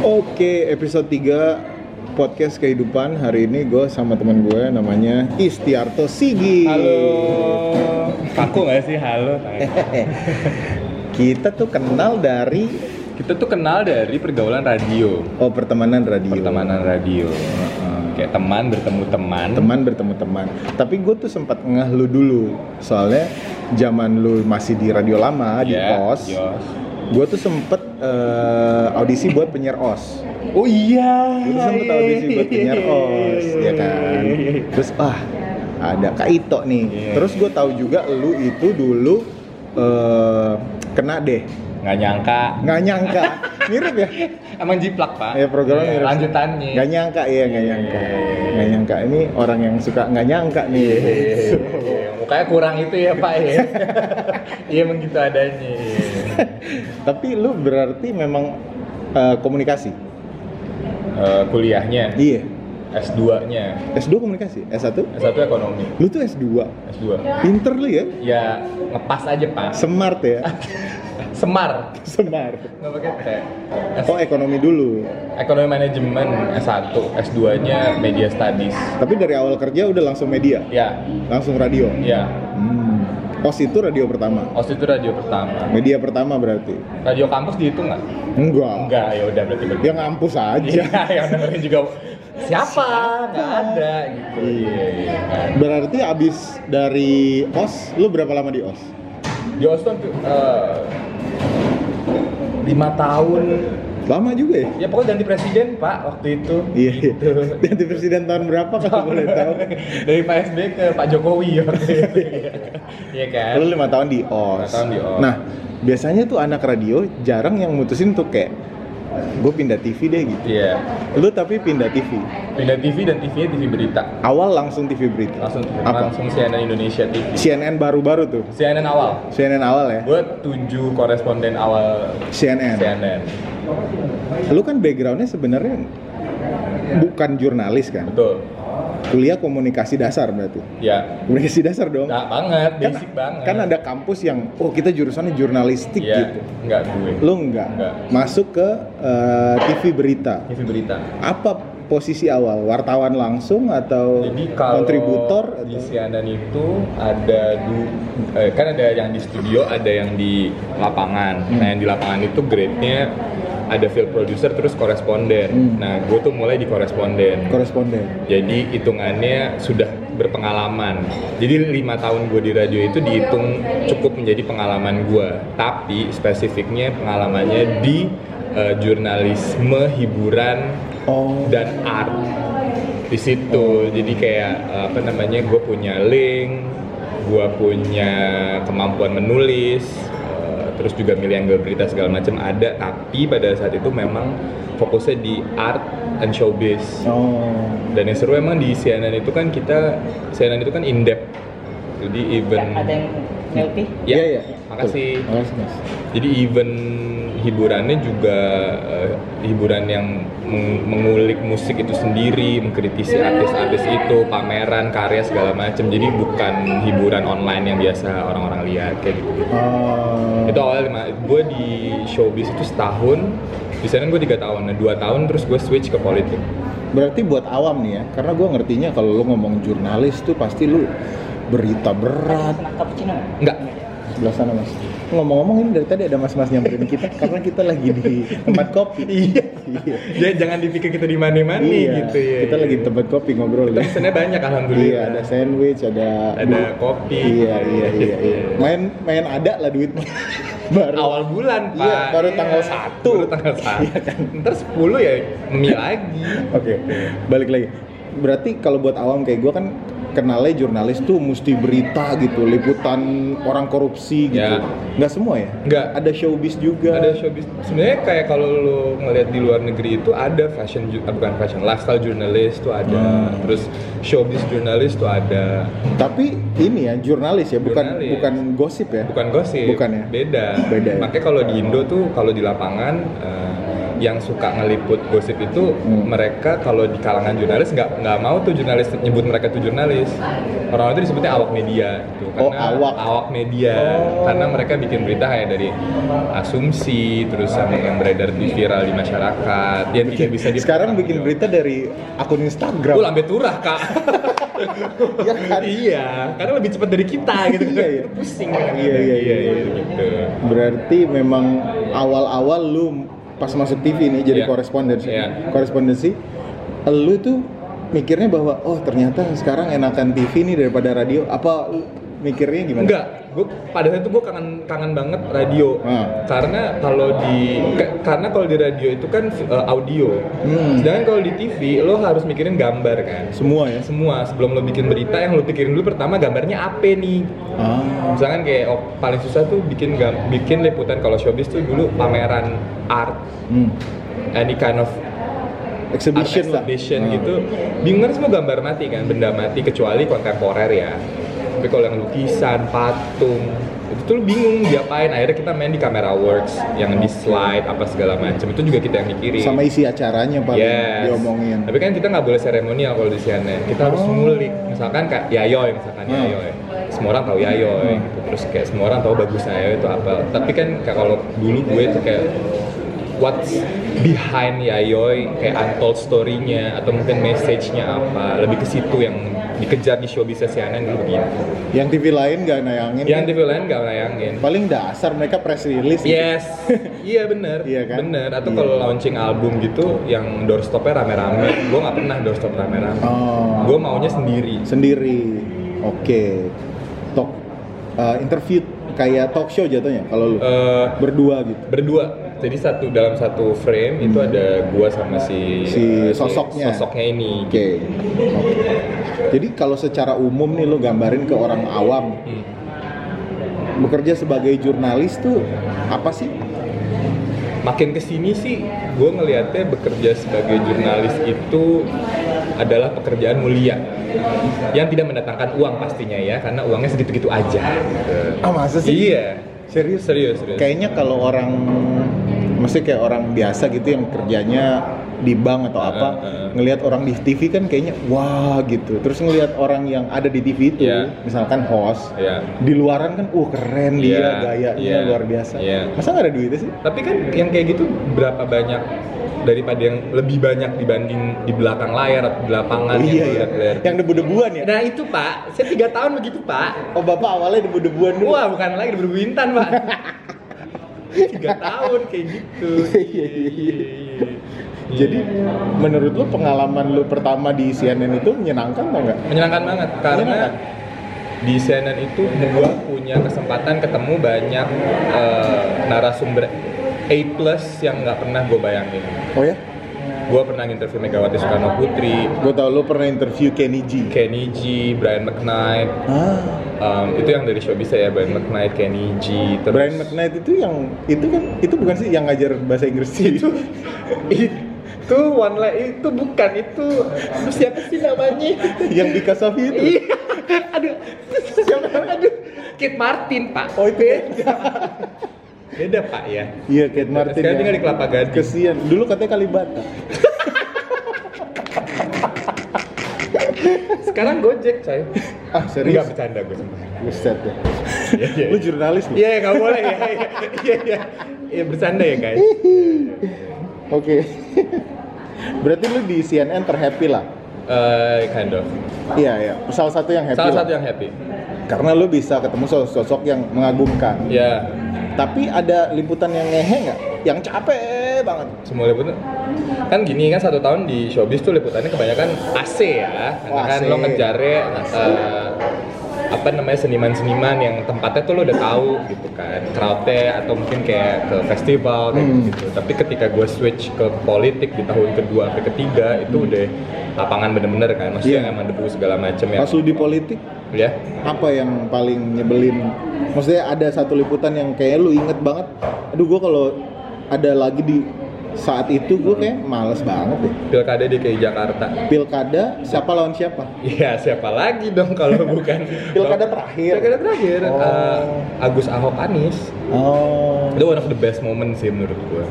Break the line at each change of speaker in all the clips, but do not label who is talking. Oke, episode 3 podcast kehidupan hari ini gue sama teman gue namanya Istiarto Sigi.
Halo. Kaku nggak sih halo?
Kita tuh kenal dari
Kita tuh kenal dari pergaulan radio,
oh pertemanan radio.
pertemanan radio. Kayak teman bertemu teman.
Teman bertemu teman. Tapi gue tuh sempat ngeh lu dulu soalnya zaman lu masih di radio lama di
Iya,
pos.
di OS.
Gue tuh sempet eh, audisi buat penyiar os.
Oh iya.
Gue tuh sempet audisi buat penyiar os, ya kan. Terus ah ada Kak Ito nih.
Iya.
Terus gue tahu juga lu itu dulu eh, kena deh,
Nggak nyangka.
nggak nyangka, mirip ya.
Emang jiplak pak?
Ya programnya
Iya,
mirip.
Lanjutannya. Iya,
Nggak nyangka ya, nggak nyangka, nggak nyangka. Ini orang yang suka nggak nyangka nih.
Iya, Mukanya kurang itu ya pak ya. Iya emang gitu adanya.
Tapi lu berarti memang eh, komunikasi.
Eh, kuliahnya
Iya.
S2-nya.
S2 komunikasi, S1?
S1 ekonomi,
Lu tuh S2.
S2.
Pinter lu ya.
Ya ngepas aja pak.
Smart ya.
Semar.
Smart.
Nggak pakai T. S-
Oh, ekonomi dulu.
Ekonomi manajemen S1, S2-nya media studies.
Tapi dari awal kerja udah langsung media,
Ya,
langsung radio.
ya.
Hmm. Pos itu radio pertama.
OS itu radio pertama.
Media pertama berarti.
Radio kampus dihitung nggak?
Enggak.
Enggak, ya udah berarti berarti.
Ya ngampus aja.
Iya, yang dengerin juga siapa? Nggak ada gitu. Iya, iya. Nggak ada.
Berarti abis dari OS, lu berapa lama di OS?
Di OS tuh eh, lima tahun.
Lama juga ya?
Ya pokoknya ganti presiden Pak waktu itu.
Iya, iya.
Gitu.
Ganti presiden tahun berapa kalau boleh tahu?
Dari Pak SB ke Pak Jokowi waktu itu. Iya. Iya kan?
Lu lima tahun di OS.
Lima tahun di OS.
Nah, biasanya tuh anak radio jarang yang mutusin untuk kayak gue pindah TV deh gitu.
Iya.
Lu tapi pindah TV.
Pindah TV dan TV-nya TV berita.
Awal langsung TV berita.
Langsung TV,
apa?
langsung CNN Indonesia TV.
CNN baru-baru tuh.
CNN awal.
CNN awal ya.
Gue tujuh koresponden awal
CNN.
CNN.
Lu kan backgroundnya sebenarnya bukan jurnalis kan?
Betul.
Kuliah komunikasi dasar berarti.
Ya.
Komunikasi dasar dong.
Nah, banget,
Kan-
basic banget.
Kan ada kampus yang oh kita jurusannya jurnalistik
Iya,
gitu.
enggak gue.
Lu enggak,
Enggak.
masuk ke eh, TV berita.
TV berita.
Apa posisi awal? Wartawan langsung atau
Jadi kalau
kontributor
di
atau-
CNN itu ada du- eh, kan ada yang di studio, ada yang di lapangan.
Hmm.
Nah, yang di lapangan itu grade-nya ada field producer terus koresponden.
Hmm.
Nah, gue tuh mulai di koresponden.
koresponden?
Jadi hitungannya sudah berpengalaman. Jadi lima tahun gue di radio itu dihitung cukup menjadi pengalaman gue. Tapi spesifiknya pengalamannya di eh, jurnalisme hiburan
Oh.
dan art di situ. Jadi kayak eh, apa namanya? Gue punya link, gue punya kemampuan menulis, eh, terus juga milih angle berita segala macam ada. Tapi pada saat itu memang fokusnya di art and showbiz
Oh.
dan yang seru emang di CNN itu kan kita CNN itu kan in depth jadi even
Ya, ada yang LP?
ya,
Iya, iya.
makasih
Betul. Makasih, Mas.
jadi even hiburannya juga eh, hiburan yang meng- mengulik musik itu sendiri mengkritisi artis-artis itu pameran karya segala macam jadi bukan hiburan online yang biasa orang-orang lihat kayak gitu
Oh.
itu awalnya lima gue di showbiz itu setahun di CNN gue tiga tahun nah dua tahun terus gue switch ke politik
Berarti buat awam nih ya, karena gue ngertinya kalau lu ngomong jurnalis tuh pasti lu berita berat.
Sama cappuccino?
enggak
Sebelah sana mas. Ngomong-ngomong ini dari tadi ada mas-mas nyamperin kita karena kita lagi di tempat kopi. iya.
ya jangan dipikir kita di mana-mana gitu ya.
Kita lagi di tempat kopi ngobrol ya.
Pesannya banyak alhamdulillah.
Iya, ada sandwich, ada
Ada kopi.
Iya, iya, iya, iya. Main main ada lah duitnya. Baru
Awal bulan, Pak.
Iya, baru tanggal satu. Iya, kan?
Baru tanggal 1. Ntar 10 ya memi lagi.
Oke, balik lagi. Berarti kalau buat awam kayak gue kan kenalnya jurnalis tuh mesti berita gitu, liputan orang korupsi gitu.
Ya.
Nggak semua ya?
Nggak.
Ada showbiz juga.
Ada showbiz. Sebenarnya kayak kalau lu ngelihat di luar negeri itu ada fashion ju- ah, bukan fashion, lifestyle jurnalis tuh ada.
Hmm.
Terus showbiz jurnalis tuh ada.
Tapi ini ya jurnalis ya, bukan
Jurnalis.
bukan gosip ya.
Bukan gosip.
Bukan ya?
Beda.
Beda ya?
Makanya kalau di Indo tuh kalau di lapangan eh, yang suka ngeliput gosip itu
Hmm.
mereka kalau di kalangan jurnalis nggak nggak mau tuh jurnalis nyebut mereka tuh jurnalis orang itu disebutnya awak media gitu
Oh, awak.
media
Oh.
karena mereka bikin berita kayak dari asumsi terus sama yang beredar di viral di masyarakat yang tidak bisa dipertanggungjawabkan.
Sekarang
Iya.
bikin berita dari akun Instagram.
Gue lambe turah kak.
Iya kan?
iya, karena lebih cepat dari kita gitu.
Iya, iya.
Pusing
Iya, iya, iya, iya.
gitu.
Berarti memang awal-awal lu pas masuk TV nih jadi
Iya.
koresponden,
Iya.
korespondensi, lu tuh mikirnya bahwa oh ternyata sekarang enakan TV nih daripada radio. Apa lu mikirnya gimana?
Enggak, gue pada saat itu gue kangen kangen banget radio.
Hmm.
Karena kalau di ka- karena kalau di radio itu kan eh, audio.
Hmm.
Sedangkan kalau di TV lo harus mikirin gambar kan.
Semua ya.
Semua sebelum lo bikin berita yang lo pikirin dulu pertama gambarnya apa nih?
Ah.
Misalkan kayak oh, paling susah tuh bikin gam- bikin liputan kalau showbiz tuh dulu pameran art
Hmm.
any kind of art
Exhibition, lah.
exhibition
Ah.
gitu bingung kan semua gambar mati kan benda mati kecuali kontemporer ya tapi kalau yang lukisan patung itu tuh lu bingung diapain akhirnya kita main di camera works yang di slide apa segala macam itu juga kita yang mikirin
Sama isi acaranya paling
Yes.
diomongin.
Tapi kan kita nggak boleh seremonial kalau di CNN. Kita harus
Oh.
ngulik. Misalkan kayak Yayoi, misalkan
Hmm.
Yayoi. Semua orang tahu Yayoi.
Hmm.
gitu. Terus kayak semua orang tahu bagusnya Yayoi itu apa. Tapi kan kayak kalau dulu gue tuh kayak what's behind Yayoi, kayak untold story-nya atau mungkin message-nya apa. Lebih ke situ yang dikejar di showbiz CNN dulu begitu.
Yang TV lain nggak nayangin. kan?
Yang TV lain nggak nayangin.
paling dasar mereka press release. gitu.
Yes, iya bener,
Iya kan?
bener.
Iya.
Atau kalau launching album gitu, yang doorstopnya rame-rame, gue nggak pernah doorstop rame-rame.
Oh.
Gue maunya sendiri.
sendiri. Oke. Talk eh, interview kayak talk show jatuhnya kalau lu
Eh,
berdua gitu.
berdua, jadi satu dalam satu frame itu ada gue sama
Hmm.
si
Si sosoknya.
sosoknya ini.
Oke. Oke. Jadi kalau secara umum nih lu gambarin ke orang awam
Hmm.
bekerja sebagai jurnalis tuh apa sih?
Makin kesini sih, gue ngelihatnya bekerja sebagai jurnalis itu adalah pekerjaan mulia yang tidak mendatangkan uang pastinya ya, karena uangnya segitu-gitu aja.
Ah masa
Iya,
Serius?
serius, serius.
Kayaknya kalau orang mesti kayak orang biasa gitu yang kerjanya di bank atau apa
Eh, eh.
ngelihat orang di TV kan kayaknya wah gitu. Terus ngelihat orang yang ada di TV itu
Iya.
misalkan host
Iya.
di luaran kan uh keren dia
Iya,
gayanya
iya,
luar biasa
iya.
masa nggak ada duitnya sih
Tapi kan yang kayak gitu berapa banyak daripada yang lebih banyak dibanding di belakang layar atau di lapangan
iya
yang gue
ya
lihat-lihat.
yang debu-debuan ya
Nah itu pak, saya tiga tahun begitu pak.
oh bapak awalnya debu-debuan dulu
Wah bukan lagi berbuintan pak. tiga tahun kayak gitu.
Iya, iya, iya. jadi menurut lu pengalaman lu pertama di CNN itu menyenangkan atau nggak
menyenangkan banget karena
Menyenangkan.
di CNN itu gua punya kesempatan ketemu banyak eh, narasumber A plus yang nggak pernah gue bayangin.
oh ya
Gue pernah interview Megawati Soekarno Putri,
gue tau lu pernah interview Kenny G
Kenny G, Brian McKnight,
ah
um, itu yang dari showbiz saya Brian McKnight, Kenny G, terus
Brian McKnight itu yang itu kan itu bukan sih yang ngajar bahasa Inggris itu
itu one light itu bukan itu Aduh, siapa sih namanya?
yang di Kasafi itu
Iya, aduh, siapa? Aduh, Kate Martin pak.
oh itu beda.
Beda pak ya.
iya Kate Martin
Sekarang
ya.
tinggal di Kelapa Gading.
kesian dulu katanya Kalibata
Sekarang Gojek coy.
ah
Enggak
serius
bercanda gue sumpah.
Buset ya.
Iya, iya.
Lu jurnalis lu?
Iya, iya, nggak boleh ya. Iya, iya, iya. Iya, bercanda ya guys.
Oke. Berarti lu di CNN terhappy lah.
Eh, kind of.
Iya ya. Salah satu yang happy.
Salah
lah.
satu ya. yang happy.
Karena lu bisa ketemu sosok-sosok yang mengagumkan.
Ya,
Tapi ada liputan yang ngehe nggak? Yang capek banget.
semua liputan kan gini kan satu tahun di showbiz tuh liputannya kebanyakan AC ya karena
Oh,
kan
AC.
lo ngejarnya eh, apa namanya seniman-seniman yang tempatnya tuh lo udah tahu gitu kan crowdnya atau mungkin kayak ke festival kayak
Hmm.
gitu tapi ketika gue switch ke politik di tahun kedua sampai ketiga itu udah lapangan bener-bener kan maksudnya
Hmm. Iya.
emang debu segala macem ya
Pas lu di politik,
ya
apa yang paling nyebelin? Maksudnya ada satu liputan yang kayak lu inget banget. Aduh gua kalau ada lagi di saat itu gue kayak males banget deh.
pilkada DKI Jakarta
Pilkada siapa lawan siapa?
Iya siapa lagi dong kalau bukan
Pilkada terakhir.
pilkada terakhir
Oh.
eh, Agus Ahok Anies
Oh.
Itu one of the best moment sih menurut gue.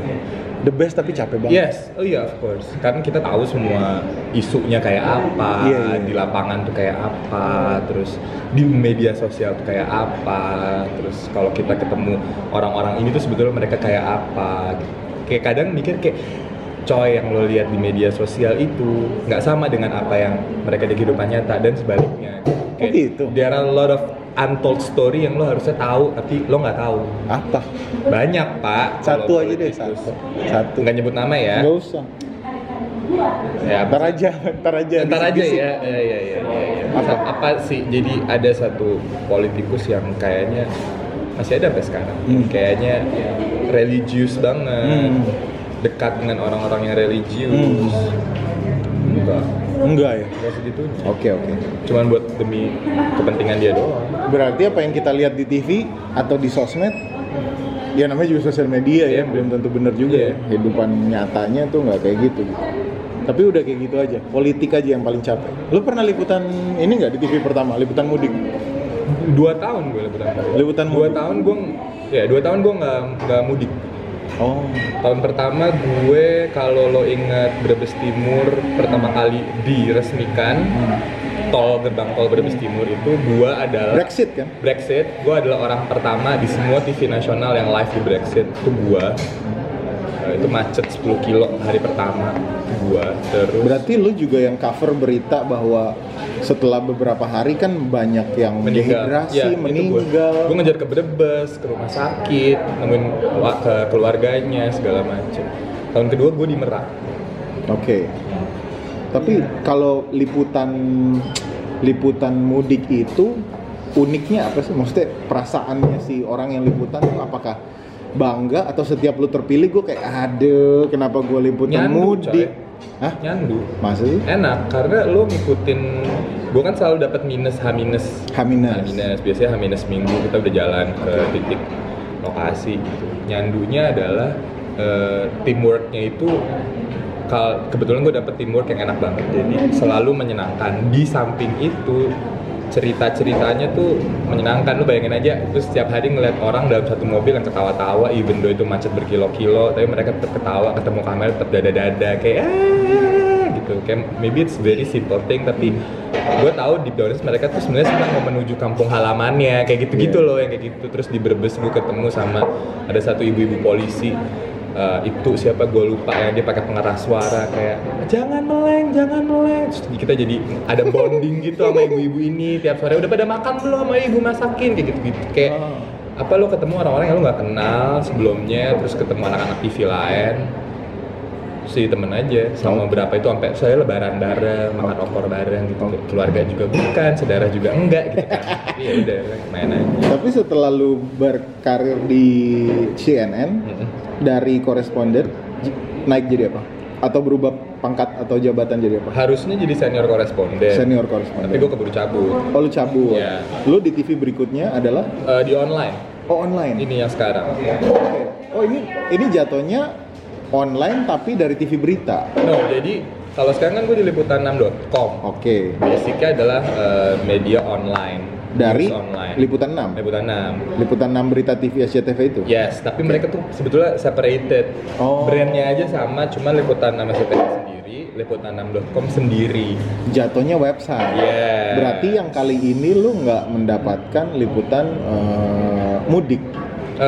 The best tapi capek banget.
Yes, oh iya of course. Karena kita tahu semua isunya kayak apa,
Iya, iya.
di lapangan tuh kayak apa, terus di media sosial tuh kayak apa, terus kalau kita ketemu orang-orang ini tuh sebetulnya mereka kayak apa. Kayak kadang mikir kayak coy yang lo lihat di media sosial itu nggak sama dengan apa yang mereka di kehidupan nyata dan sebaliknya.
Oh, gitu.
There are a lot of untold story yang lo harusnya tahu tapi lo nggak tahu.
Apa?
Banyak pak.
Satu
kalau
aja deh
politikus.
satu. Satu.
Nggak nyebut nama ya.
Nggak usah.
Ya,
Ntar aja, ntar aja.
Ntar aja
bisik-bisik.
ya. Ya, ya, ya, ya, ya.
Apa?
Apa? sih? Jadi ada satu politikus yang kayaknya masih ada sampai sekarang.
Hmm.
Kayaknya religius banget.
Hmm.
Dekat dengan orang-orang yang religius.
Hmm.
Enggak,
Enggak ya.
enggak segitunya.
Oke oke.
Cuman buat demi kepentingan dia doang.
Berarti apa yang kita lihat di TV atau di sosmed, ya namanya juga sosial media ya,
Iya,
belum tentu benar juga
Iya.
ya. Kehidupan nyatanya tuh nggak kayak gitu. gitu. Tapi udah kayak gitu aja, politik aja yang paling capek. Lu pernah liputan ini nggak di TV pertama, liputan mudik?
Dua tahun gue liputan. mudik.
Liputan
Dua
mudik.
tahun gue, ya dua tahun gue nggak nggak mudik.
Oh,
Tahun pertama gue kalau lo ingat Brebes Timur pertama kali diresmikan tol gerbang tol Brebes Timur itu gue adalah
Hmm. Brexit kan?
Brexit, gue adalah orang pertama di semua TV nasional yang live di Brexit itu gue itu macet 10 kilo hari pertama gue terus
Berarti lu juga yang cover berita bahwa setelah beberapa hari kan banyak yang dehidrasi,
Ya, itu gua.
meninggal.
Gua ngejar ke Brebes, ke rumah sakit, nemuin wa- ke keluarganya segala macem. Tahun kedua gue di Merak.
Oke. Tapi kalau liputan liputan mudik itu uniknya apa sih? Maksudnya perasaannya si orang yang liputan tuh apakah bangga atau setiap lu terpilih gue kayak aduh kenapa gue liputan
Nyandu,
mudik? Hah?
Nyandu.
Masa sih?
enak karena lo ngikutin gue kan selalu dapat minus h minus
Hamina.
H minus biasanya h minus minggu kita udah jalan ke titik lokasi gitu nyandunya adalah eh, teamworknya itu kal- kebetulan gue dapet teamwork yang enak banget jadi selalu menyenangkan di samping itu cerita-ceritanya tuh menyenangkan lu bayangin aja terus setiap hari ngeliat orang dalam satu mobil yang ketawa-tawa even though itu macet berkilo-kilo tapi mereka tetap ketawa ketemu kamera tetap dada-dada kayak "Ah," gitu kayak maybe it's very simple thing tapi gue tahu di down mereka tuh sebenarnya sedang mau menuju kampung halamannya kayak gitu-gitu
Iya.
loh yang kayak gitu terus di Brebes gue ketemu sama ada satu ibu-ibu polisi Eh, itu siapa gue lupa yang dia pakai pengeras suara kayak jangan meleng jangan meleng terus kita jadi ada bonding gitu sama ibu-ibu ini tiap sore udah pada makan belum sama ibu masakin kayak gitu gitu kayak
Oh.
apa lo ketemu orang-orang yang lo nggak kenal sebelumnya terus ketemu anak-anak TV lain si temen aja sama berapa itu sampai saya lebaran bareng makan opor bareng gitu
Oh.
keluarga juga bukan saudara juga enggak gitu kan Tapi ya udah main aja
Tapi setelah lu berkarir di CNN
Mm-mm.
dari koresponden j- naik jadi apa? Atau berubah pangkat atau jabatan jadi apa?
harusnya jadi senior koresponden
Senior
Iya. tapi
koresponden.
gue keburu cabut
Oh lu cabut.
Iya.
Lu di TV berikutnya adalah
Eh, di online
Oh online.
ini yang sekarang
Oke. Oh ini ini jatuhnya online tapi dari TV berita.
no jadi kalau sekarang kan gue di liputan 6.com
Oke.
basicnya adalah eh, media online
Dari
News online
liputan 6.
liputan 6
Liputan 6 berita TV SCTV itu.
Yes, tapi mereka tuh sebetulnya separated.
Oh.
Brandnya aja sama, cuma liputan nama CTV sendiri, liputan 6.com sendiri.
Jatuhnya
Iya.
website.
Yes.
Berarti yang kali ini lu nggak mendapatkan liputan eh, mudik.
gue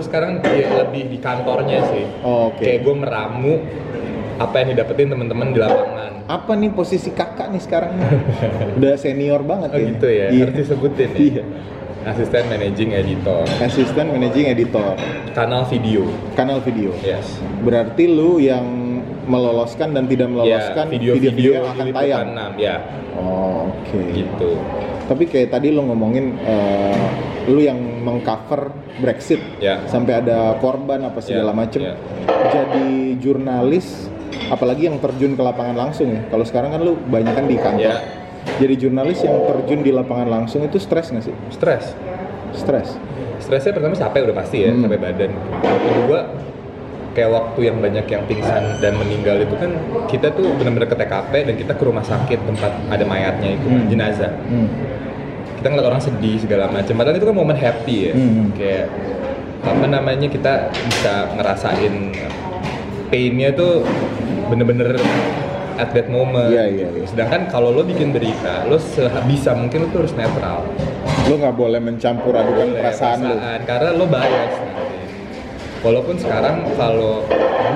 Eh, sekarang di- lebih di kantornya sih.
Oke.
Kayak gue meramu apa yang didapetin teman-teman di lapangan.
Apa nih posisi kakak nih sekarang? Udah senior banget
Oh
ya.
gitu ya,
Iya.
harus disebutin ya.
Iya.
Asisten Managing Editor,
Assistant Managing Editor,
kanal video.
kanal video.
Yes.
Berarti lu yang meloloskan dan tidak meloloskan
Ya, video-video
video-video yang akan
di
tayang.
liputan 6, ya
Oh, Oke.
gitu.
Tapi kayak tadi lo ngomongin eh, lu yang mengcover Brexit
Ya.
sampai ada korban apa segala
Ya,
macem.
ya.
Jadi jurnalis, apalagi yang terjun ke lapangan langsung ya. Kalau sekarang kan lu banyak kan di kantor.
Ya.
Jadi jurnalis yang terjun di lapangan langsung itu stres nggak sih?
Stres.
Stres.
stresnya pertama capek udah pasti ya
Hmm.
capek badan kedua kayak waktu yang banyak yang pingsan dan meninggal itu kan kita tuh benar-benar ke TKP dan kita ke rumah sakit tempat ada mayatnya itu
Hmm.
jenazah
Hmm.
kita ngeliat orang sedih segala macam padahal itu kan momen happy ya
Hmm.
kayak apa namanya kita bisa ngerasain painnya tuh bener-bener at that moment. gitu.
Iya, iya, iya.
Sedangkan kalau lo bikin berita, lo sebisa mungkin lo tuh harus netral.
Lo nggak boleh mencampur adukan
Boleh,
perasaan, lo.
karena lo bias nanti. Walaupun sekarang kalau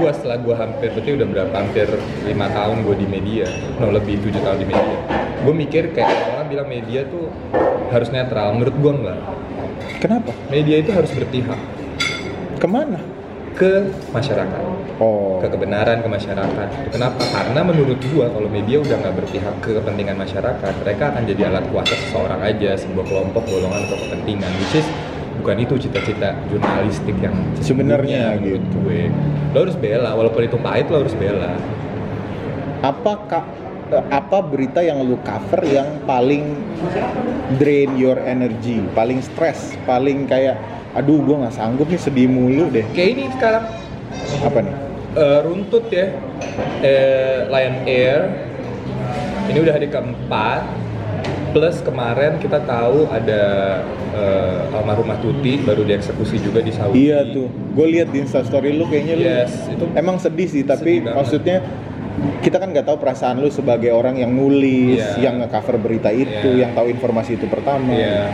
gua setelah gua hampir berarti udah berapa hampir lima tahun gua di media, no lebih tujuh tahun di media. Gua mikir kayak orang bilang media tuh harus netral, menurut gua enggak.
Kenapa?
Media itu harus berpihak
Kemana?
ke masyarakat,
Oh,
ke kebenaran, ke masyarakat. Kenapa? Karena menurut gua kalau media udah nggak berpihak ke kepentingan masyarakat, mereka akan jadi alat kuasa seseorang aja, sebuah kelompok, golongan atau kepentingan. Which is bukan itu cita-cita jurnalistik yang
Sebenarnya,
menurut
gitu.
gue. Lo harus bela, walaupun itu pahit lo harus bela.
apa ka- eh, apa berita yang lu cover yang paling drain your energy, paling stress, paling kayak aduh gua nggak sanggup nih sedih mulu deh.
Kayak ini sekarang
Apa nih?
eh, runtut ya, eh, Lion Air. Ini udah hari keempat. Plus kemarin kita tahu ada eh, almarhumah Tuti baru dieksekusi juga di Saudi.
Iya tuh. Gue lihat di instastory lu kayaknya lu
Yes, itu
emang sedih sih tapi
Sedih banget.
maksudnya kita kan nggak tahu perasaan lu sebagai orang yang nulis,
Iya.
yang nge-cover berita itu,
Iya.
yang tahu informasi itu pertama.
Iya.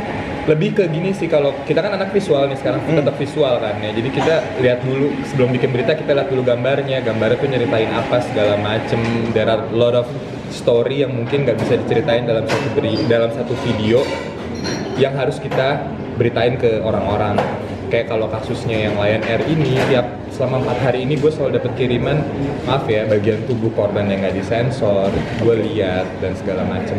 Lebih ke gini sih kalau kita kan anak visual nih sekarang kita
Hmm.
tetap visual kan ya. Jadi kita lihat dulu sebelum bikin berita kita lihat dulu gambarnya. Gambarnya tuh nyeritain apa segala macem. There are lot of story yang mungkin nggak bisa diceritain dalam satu beri, dalam satu video yang harus kita beritain ke orang-orang. Kayak kalau kasusnya yang Lion Air ini tiap selama empat hari ini gue selalu dapet kiriman maaf ya bagian tubuh korban yang nggak disensor gue lihat dan segala macem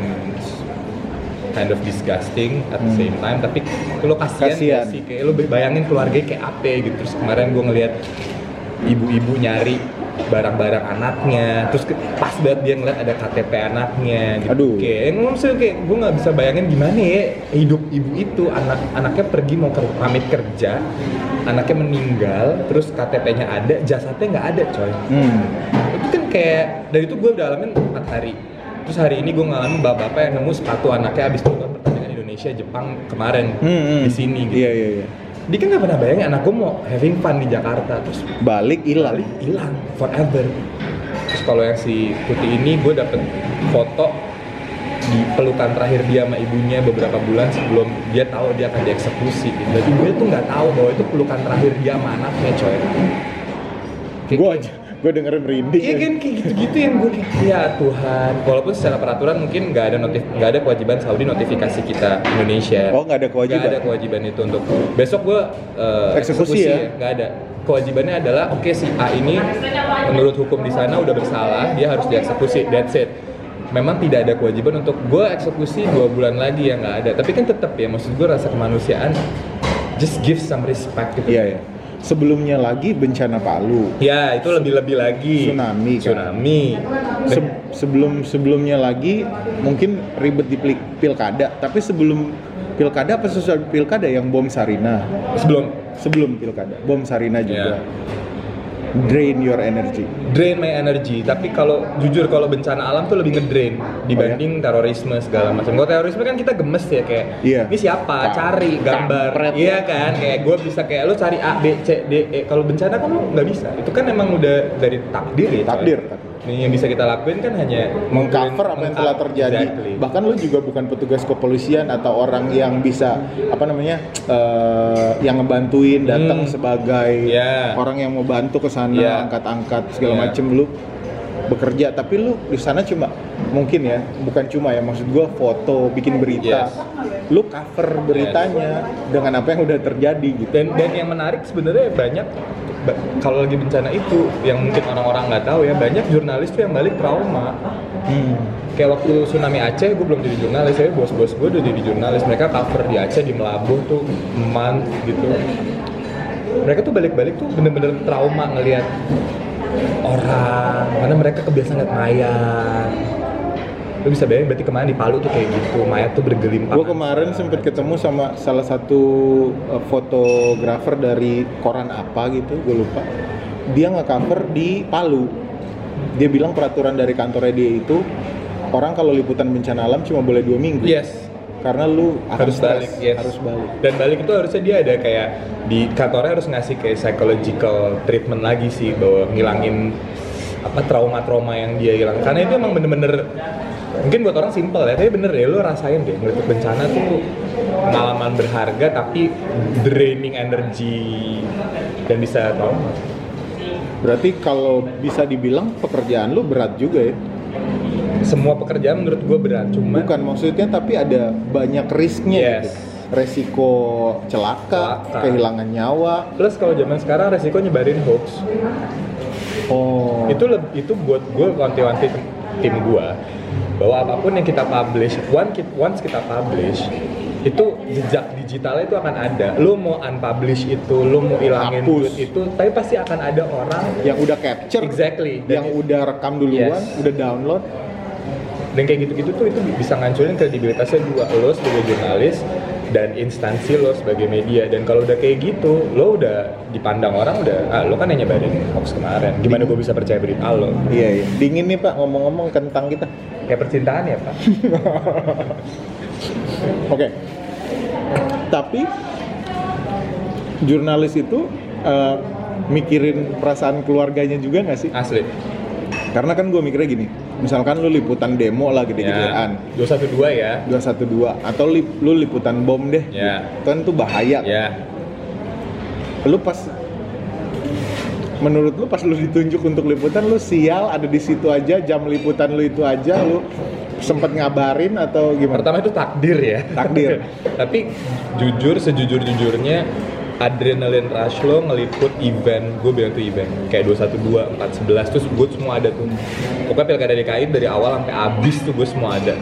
kind of disgusting at the same time tapi lo kasihan
Hmm. Kasihan.
gak sih kayak lo bayangin keluarganya kayak apa gitu terus kemarin gue ngeliat ibu-ibu nyari barang-barang anaknya terus ke- pas banget dia ngeliat ada KTP anaknya gitu
Aduh.
kayak yang ngomong sih, kayak gue nggak bisa bayangin gimana ya hidup ibu itu anak anaknya pergi mau ke pamit kerja anaknya meninggal terus KTP-nya ada jasadnya nggak ada coy
Hmm.
itu kan kayak dari itu gue udah alamin 4 hari terus hari ini gue ngalamin bapak-bapak yang nemu sepatu anaknya habis nonton pertandingan Indonesia Jepang kemarin
Hmm, hmm.
di sini gitu
Iya, iya, iya.
dia kan gak pernah bayangin anak gue mau having fun di Jakarta terus
Balik hilang.
balik hilang forever terus kalau yang si putih ini gue dapet foto di pelukan terakhir dia sama ibunya beberapa bulan sebelum dia tahu dia akan dieksekusi gitu. Dan ibunya tuh nggak tahu bahwa itu pelukan terakhir dia sama anaknya coy. Kayak-
Gue aja, gue dengerin merinding.
Iya kan kayak gitu-gitu yang gue kayak ya Tuhan. Walaupun secara peraturan mungkin nggak ada notif nggak ada kewajiban Saudi notifikasi kita Indonesia.
Oh, nggak ada kewajiban?
Nggak ada kewajiban itu untuk besok gue eh,
Eksekusi ya?
Nggak ada. Kewajibannya adalah oke si A ini menurut hukum di sana udah bersalah dia harus dieksekusi. That's it. Memang tidak ada kewajiban untuk gue eksekusi dua bulan lagi ya nggak ada. Tapi kan tetap ya maksud gue rasa kemanusiaan just give some respect gitu.
Iya, iya. Sebelumnya lagi bencana Palu.
Ya itu lebih-lebih lagi
Tsunami kan?
Tsunami.
Se- sebelum sebelumnya lagi mungkin ribet di pil- pilkada, tapi sebelum pilkada apa sesudah pilkada yang bom Sarina?
sebelum
Sebelum pilkada, bom Sarina juga.
Iya.
Drain your energy.
drain my energy tapi kalau jujur kalau bencana alam tuh lebih ngedrain
Oh,
dibanding terorisme segala macam kalau terorisme kan kita gemes ya kayak
Iya.
ini siapa
Kam-
cari gambar
kampret.
iya kan kayak gue bisa kayak lo cari A B C D E kalau bencana kan lo nggak bisa itu kan emang udah dari takdir ya coy.
Takdir.
Nih, yang bisa kita lakuin kan hanya
Mengcover apa yang telah terjadi.
Exactly.
Bahkan lu juga bukan petugas kepolisian atau orang yang bisa apa namanya eh, yang ngebantuin datang
Hmm.
sebagai
Iya.
orang yang mau bantu ke sana,
Iya.
angkat-angkat segala
Iya.
macem lu bekerja. Tapi lu di sana cuma mungkin ya, bukan cuma ya maksud gua foto, bikin berita.
Yes.
Lu cover beritanya dengan apa yang udah terjadi gitu.
dan dan yang menarik sebenarnya banyak ba- kalau lagi bencana itu yang mungkin orang-orang nggak tahu ya banyak jurnalis tuh yang balik trauma kayak waktu tsunami Aceh gue belum jadi jurnalis saya bos-bos gue udah jadi jurnalis mereka cover di Aceh di Melabuh tuh month gitu mereka tuh balik-balik tuh bener-bener trauma ngelihat orang karena mereka kebiasaan lihat mayat lu bisa bayangin berarti kemarin di Palu tuh kayak gitu mayat tuh bergelimpang
Gue kemarin sempet ketemu sama salah satu eh, fotografer dari koran apa gitu, gue lupa. Dia nge-cover di Palu. Dia bilang peraturan dari kantornya dia itu orang kalau liputan bencana alam cuma boleh dua minggu.
yes
karena lu akan
Iya. harus
stres,
balik yes.
harus balik
dan balik itu harusnya dia ada kayak di kantornya harus ngasih kayak psychological treatment lagi sih bahwa ngilangin apa trauma-trauma yang dia hilang karena itu emang bener-bener mungkin buat orang simple ya tapi bener ya lo rasain deh ngeliat bencana tuh pengalaman berharga tapi draining energy dan bisa trauma
berarti kalau bisa dibilang pekerjaan lu berat juga ya
semua pekerjaan menurut gue berat cuman
bukan maksudnya tapi ada banyak risknya
Yes.
gitu resiko celaka,
Celaka.
kehilangan nyawa
plus kalau zaman sekarang resiko nyebarin hoax
oh
itu leb- itu buat gue wanti-wanti tim- tim gue bahwa apapun yang kita publish one ki- once kita publish itu jejak digitalnya itu akan ada lo mau unpublish itu lo mau ilangin
Hapus.
tweet itu tapi pasti akan ada orang
yang udah capture
exactly
yang
dan,
udah rekam duluan
Yes.
udah download
dan kayak gitu-gitu tuh itu bisa ngancurin kredibilitasnya dua lo sebagai jurnalis dan instansi lo sebagai media dan kalau udah kayak gitu lo udah dipandang orang udah ah lo kan hanya nyebarin hoax kemarin gimana gue bisa percaya berita lo
iya iya dingin nih pak ngomong-ngomong kentang kita
ya percintaan ya pak
Oke. Tapi jurnalis itu eh, mikirin perasaan keluarganya juga nggak sih?
asli
Karena kan gue mikirnya gini, misalkan lu liputan demo lah
Ya,
gede-gedean.
212 ya.
212 atau lip- lu liputan bom deh.
Ya.
Kan tuh bahaya.
Ya.
Lu pas menurut lu pas lu ditunjuk untuk liputan lu sial ada di situ aja jam liputan lu itu aja lu sempet ngabarin atau gimana?
Pertama itu takdir ya.
Takdir.
Tapi jujur sejujur-jujurnya adrenalin rush lo ngeliput event, gue bilang tuh event kayak 212, 411 terus gue semua ada tuh. Pokoknya pilkada DKI dari awal sampai habis tuh gue semua ada.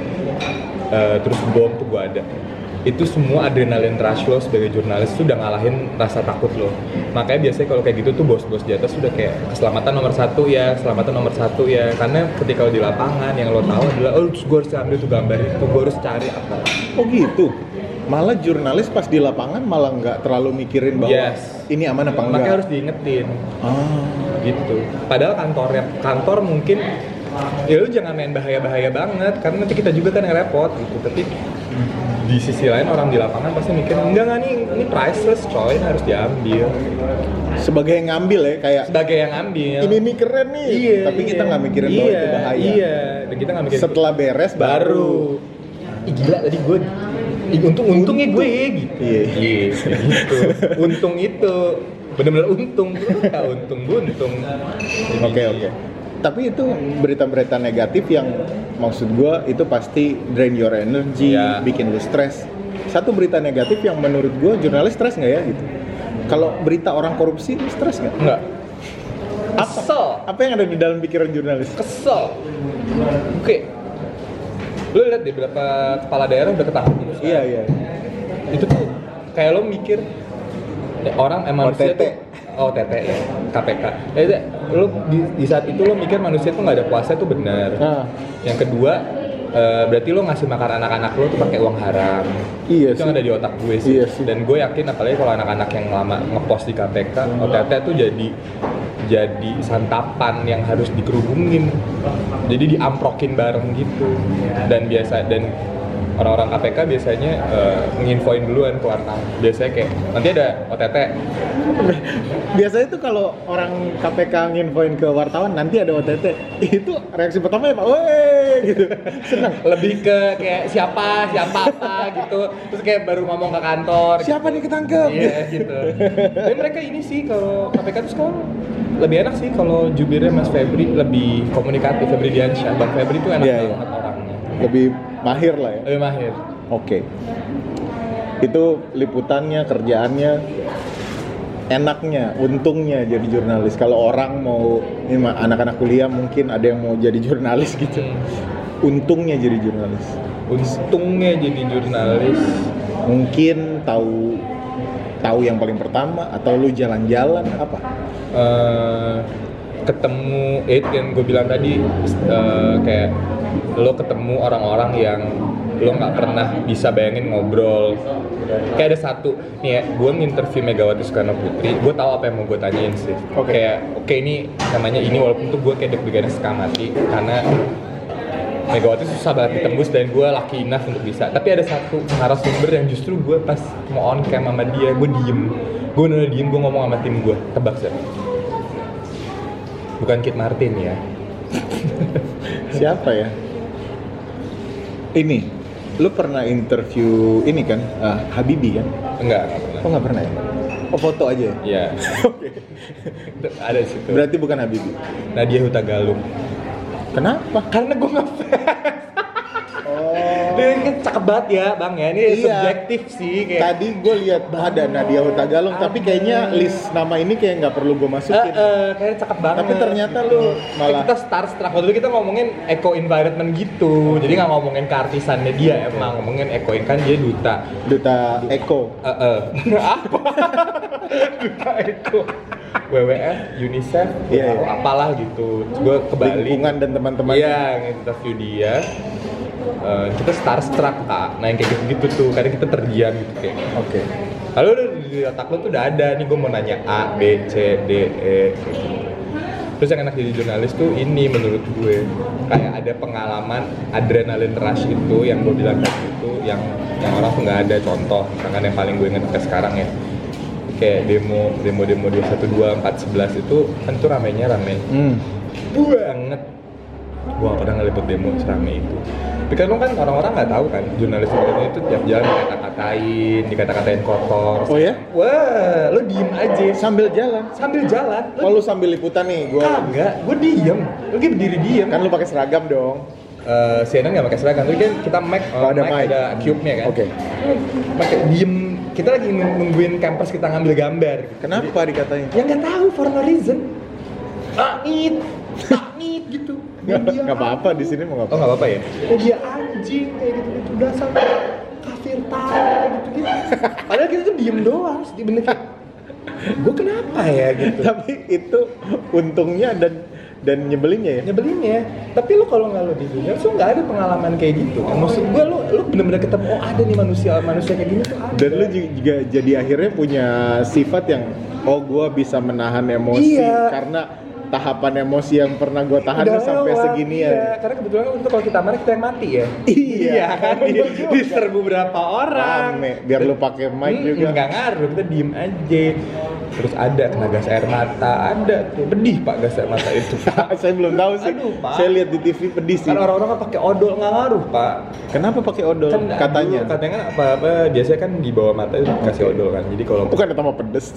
Eh, terus bom tuh gue ada. Itu semua adrenalin rush lo sebagai jurnalis tuh udah ngalahin rasa takut lo. Makanya biasanya kalau kayak gitu tuh bos-bos di atas sudah kayak keselamatan nomor satu ya, keselamatan nomor satu ya. Karena ketika lo di lapangan yang lo tahu adalah oh gue harus ambil tuh gambar itu, gue harus cari apa.
Oh gitu. Malah jurnalis pas di lapangan malah nggak terlalu mikirin bahwa
Yes.
ini aman apa enggak.
Makanya harus diingetin
Ah.
gitu. Padahal kantornya kantor mungkin ya lu jangan main bahaya-bahaya banget karena nanti kita juga kan yang repot gitu. Tapi di sisi lain orang di lapangan pasti mikir enggak enggak nih ini priceless coy ini harus diambil
Sebagai yang ngambil ya kayak
sebagai yang ambil
ini nih keren nih.
iya
Tapi kita
iya.
nggak mikirin
iya,
bahwa itu bahaya.
iya dan kita nggak mikirin
Setelah beres
baru
baru.
Ih, gila tadi gue Ih, untung untungnya gue gitu
Iya.
Iya, gitu. untung itu benar-benar untung ya untung buntung Jadi,
Oke oke. Tapi itu berita-berita negatif yang maksud gua itu pasti drain your energy,
Iya.
bikin lu stres. Satu berita negatif yang menurut gua jurnalis stres nggak ya gitu. Kalau berita orang korupsi lu stres nggak?
enggak
Apa?
kesel
Apa yang ada di dalam pikiran jurnalis?
kesel oke lu lihat deh berapa kepala daerah udah ketangkep gitu sekarang.
Iya iya.
itu tuh kayak lo mikir ya, orang eh, manusia
OTT.
tuh oh OTT ya KPK ya, itu, lo di, di saat itu lo mikir manusia tuh nggak ada puasa tuh benar
Nah,
yang kedua eh, berarti lo ngasih makan anak-anak lo tuh pakai uang haram
Iya
itu
sih.
yang ada di otak gue sih
Iya sih.
dan gue yakin apalagi kalau anak-anak yang lama ngepost di KPK
Hmm.
OTT tuh jadi jadi santapan yang harus dikerubungin jadi diamprokin bareng gitu dan biasa dan orang-orang KPK biasanya eh, nginfoin duluan ke wartawan biasanya kayak nanti ada OTT
Biasanya tuh kalau orang KPK nginfoin ke wartawan nanti ada OTT, itu reaksi pertama ya Pak, "Woi!" gitu. Senang.
lebih ke kayak siapa siapa apa gitu terus kayak baru ngomong ke kantor
Siapa nih ketangkep?
Iya gitu. Tapi mereka ini sih kalau KPK tuh sekarang lebih enak sih kalau jubirnya Mas Febri lebih komunikatif Febri Diansyah. Bang Febri tuh enak
Iya,
banget
iya.
orangnya.
Lebih mahir lah ya.
Lebih mahir.
Oke. Itu liputannya, kerjaannya enaknya, untungnya jadi jurnalis. Kalau orang mau ini mah anak-anak kuliah mungkin ada yang mau jadi jurnalis gitu. Untungnya jadi jurnalis.
Untungnya jadi jurnalis.
Mungkin tahu tahu yang paling pertama atau lu jalan-jalan apa?
eh, ketemu eh yang gue bilang tadi eh, kayak lo ketemu orang-orang yang lo nggak pernah bisa bayangin ngobrol kayak ada satu nih ya gue nginterview Megawati Soekarno Putri gue tahu apa yang mau gue tanyain sih
Oke.
kayak oke ini namanya ini walaupun tuh gue kayak deg-degannya suka mati karena Megawati susah banget ditembus dan gue lucky enough untuk bisa tapi ada satu narasumber yang justru gue pas mau on cam sama dia gue diem gue bener diem gue ngomong sama tim gue tebak sih bukan Kit Martin ya
Siapa ya? Ini, lu pernah interview ini kan, ah, Habibi kan?
enggak
Oh nggak pernah ya? Oh foto aja ya?
ya
Oke.
ada di situ
Berarti bukan Habibi.
Nadia Hutagalung
Kenapa?
karena gue ngefans
Oh.
dia kan cakep banget ya bang ya ini
Iya.
subjektif sih kayak Eh,
Tadi gue lihat ada Nadia Hutagalung, tapi kayaknya list nama ini kayak nggak perlu gue
Eh,
masukin.
eh, kayaknya cakep banget. Iya.
Tapi ternyata lu malah-
kita starstruck waktu itu kita ngomongin eco environment gitu. Jadi nggak ngomongin keartisannya dia emang ngomongin eco kan dia duta.
Duta Eko.
Eh, eh. apa? duta eco. WWF, UNICEF,
Iya,
atau
iya.
apalah gitu. Gue ke Bali.
Lingkungan dan teman-teman.
Iya, interview dia. Eh, kita starstruck kak. Nah yang kayak gitu, -gitu tuh. Kadang kita terdiam gitu kayak.
Oke.
Lalu udah di otak lu tuh udah ada nih gue mau nanya A, B, C, D, E kayak gitu. Terus yang enak jadi jurnalis tuh ini menurut gue Kayak ada pengalaman adrenalin rush itu yang gue bilang tadi itu Yang, yang orang tuh nggak ada contoh Misalkan yang paling gue inget ke sekarang ya Kayak demo, demo-demo 212, 411 itu kan tuh ramenya rame
Hmm.
banget gua gak pernah ngeliput demo serame itu tapi kan lu kan orang-orang nggak tahu kan jurnalis jurnalis itu tiap jalan dikata-katain dikata-katain kotor
Oh ya?
wah lu diem aja
Sambil jalan.
sambil jalan
Oh lu sambil liputan nih, gue
kagak gue diem lu kayak berdiri diem
kan lu pakai seragam dong.
Eh, CNN nggak pakai seragam tapi kan kita mic
Oh, ada mic.
ada cube nya kan
Oke.
pakai diem kita lagi nungguin campers kita ngambil gambar
Kenapa dikatanya?
yang nggak tahu for no reason taknit taknit gitu Gua diem
Gak apa-apa di sini mau
Oh
ngapain?
nggak apa-apa ya? Oh dia anjing kayak gitu gitu dasar kafir tai gitu gitu. Padahal kita tuh diem doang, terus dia bener kayak gue kenapa ya gitu.
Tapi itu untungnya dan dan nyebelinnya ya.
Nyebelin ya. Tapi lu kalau nggak lo di dunia, lu nggak ada pengalaman kayak gitu. Kan? Maksud gue lu lu bener-bener ketemu oh ada nih manusia manusia kayak gini tuh ada.
Dan lu ju- juga jadi akhirnya punya sifat yang oh gua bisa menahan emosi
Iya.
karena tahapan emosi yang pernah gua tahan tuh sampai ya.
lewat,
seginian.
iya. Karena kebetulan untuk kalau kita marah kita yang mati ya.
Iya.
kan di, diserbu berapa orang.
Rame, biar lu pakai mic
Hmm,
juga.
nggak ngaruh kita diem aja. Terus ada kena gas air mata, ada tuh pedih pak gas air mata itu. Pak.
Saya belum tahu sih.
Aduh, Pak.
Saya lihat di TV pedih sih.
Karena orang-orang kan pakai odol nggak ngaruh pak.
Kenapa pakai odol?
Kan nggak-
katanya.
dulu katanya kan apa-apa biasanya kan di bawah mata itu kasih odol kan. Jadi kalau
Bukan tambah pedes.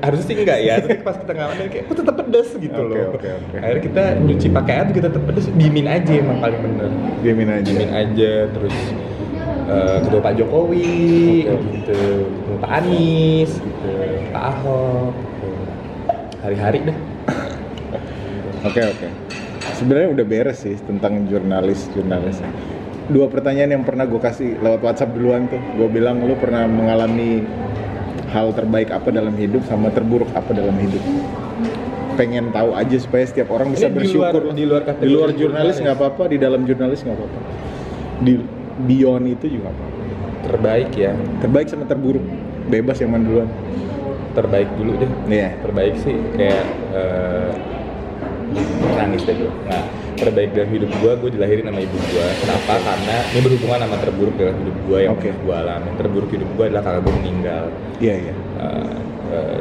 harusnya sih enggak ya tapi pas kita ngalamin kayak kok tetap pedes gitu
Oke,
loh
oke, oke.
akhirnya kita nyuci pakaian tuh kita tetap pedes diemin aja emang paling bener
Diamin aja.
diemin aja terus eh, ketua Pak Jokowi
Oke.
gitu ketua Pak Anies gitu Pak Ahok gitu. hari-hari deh
Oke oke. Sebenarnya udah beres sih tentang jurnalis jurnalis. Dua pertanyaan yang pernah gue kasih lewat WhatsApp duluan tuh. Gue bilang lu pernah mengalami hal terbaik apa dalam hidup sama terburuk apa dalam hidup. Pengen tahu aja supaya setiap orang bisa
Ini di luar-
bersyukur.
di luar kategori
Di luar jurnalis
jurnalis.
nggak apa-apa, di dalam jurnalis nggak apa-apa. Di beyond itu juga nggak apa-apa.
terbaik ya
Terbaik sama terburuk bebas yang mana duluan.
terbaik dulu deh
Iya.
terbaik sih kayak eh, nangis deh gue nah terbaik dalam hidup gue gue dilahirin sama ibu gue kenapa karena ini berhubungan sama terburuk dalam hidup gue yang
Oke.
gue alami terburuk hidup gue adalah kakak gue meninggal
Iya iya.
Eh, eh,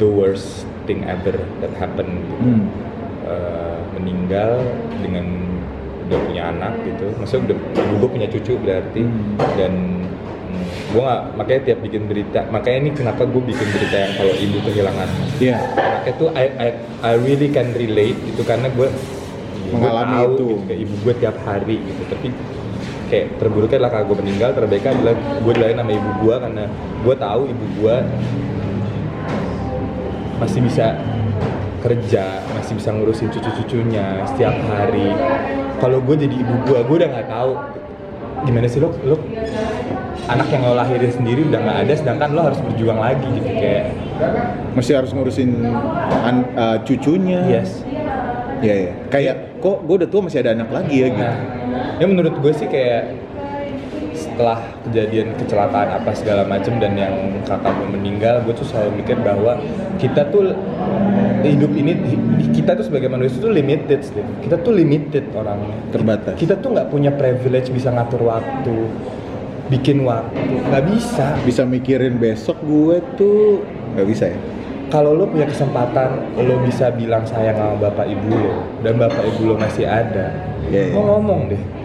the worst thing ever that happened gitu.
Hmm.
Eh, meninggal dengan udah punya anak gitu maksudnya udah gue punya cucu berarti
Hmm.
dan gue nggak makanya tiap bikin berita makanya ini kenapa gue bikin berita yang kalau ibu kehilangan
Iya.
anaknya tuh I, I, I really can relate itu karena gue
Mengalami
tahu,
itu.
gitu, kayak ibu gue tiap hari gitu tapi kayak terburuknya adalah kakak gue meninggal terbaiknya adalah gue dilain sama ibu gue karena gue tahu ibu gue masih bisa kerja masih bisa ngurusin cucu-cucunya setiap hari kalau gue jadi ibu gue gue udah nggak tahu gimana sih lo lo anak yang lo lahirin sendiri udah nggak ada sedangkan lo harus berjuang lagi gitu kayak
Masih harus ngurusin an- eh, cucunya.
yes
Iya iya.
gitu.
Kayak kok gue udah tua masih ada anak lagi ya gitu.
Nah, ya menurut gue sih kayak setelah kejadian kecelakaan apa segala macem dan yang kakak gue meninggal gue tuh selalu mikir bahwa kita tuh hidup ini hi- kita tuh sebagai manusia tuh limited Steve. kita tuh limited orangnya
Terbatas.
kita tuh nggak punya privilege bisa ngatur waktu bikin waktu nggak bisa
bisa mikirin besok gue tuh nggak bisa ya
kalau lo punya kesempatan lo bisa bilang sayang sama bapak ibu lo dan bapak ibu lo masih ada
Iya, iya.
lo ngomong deh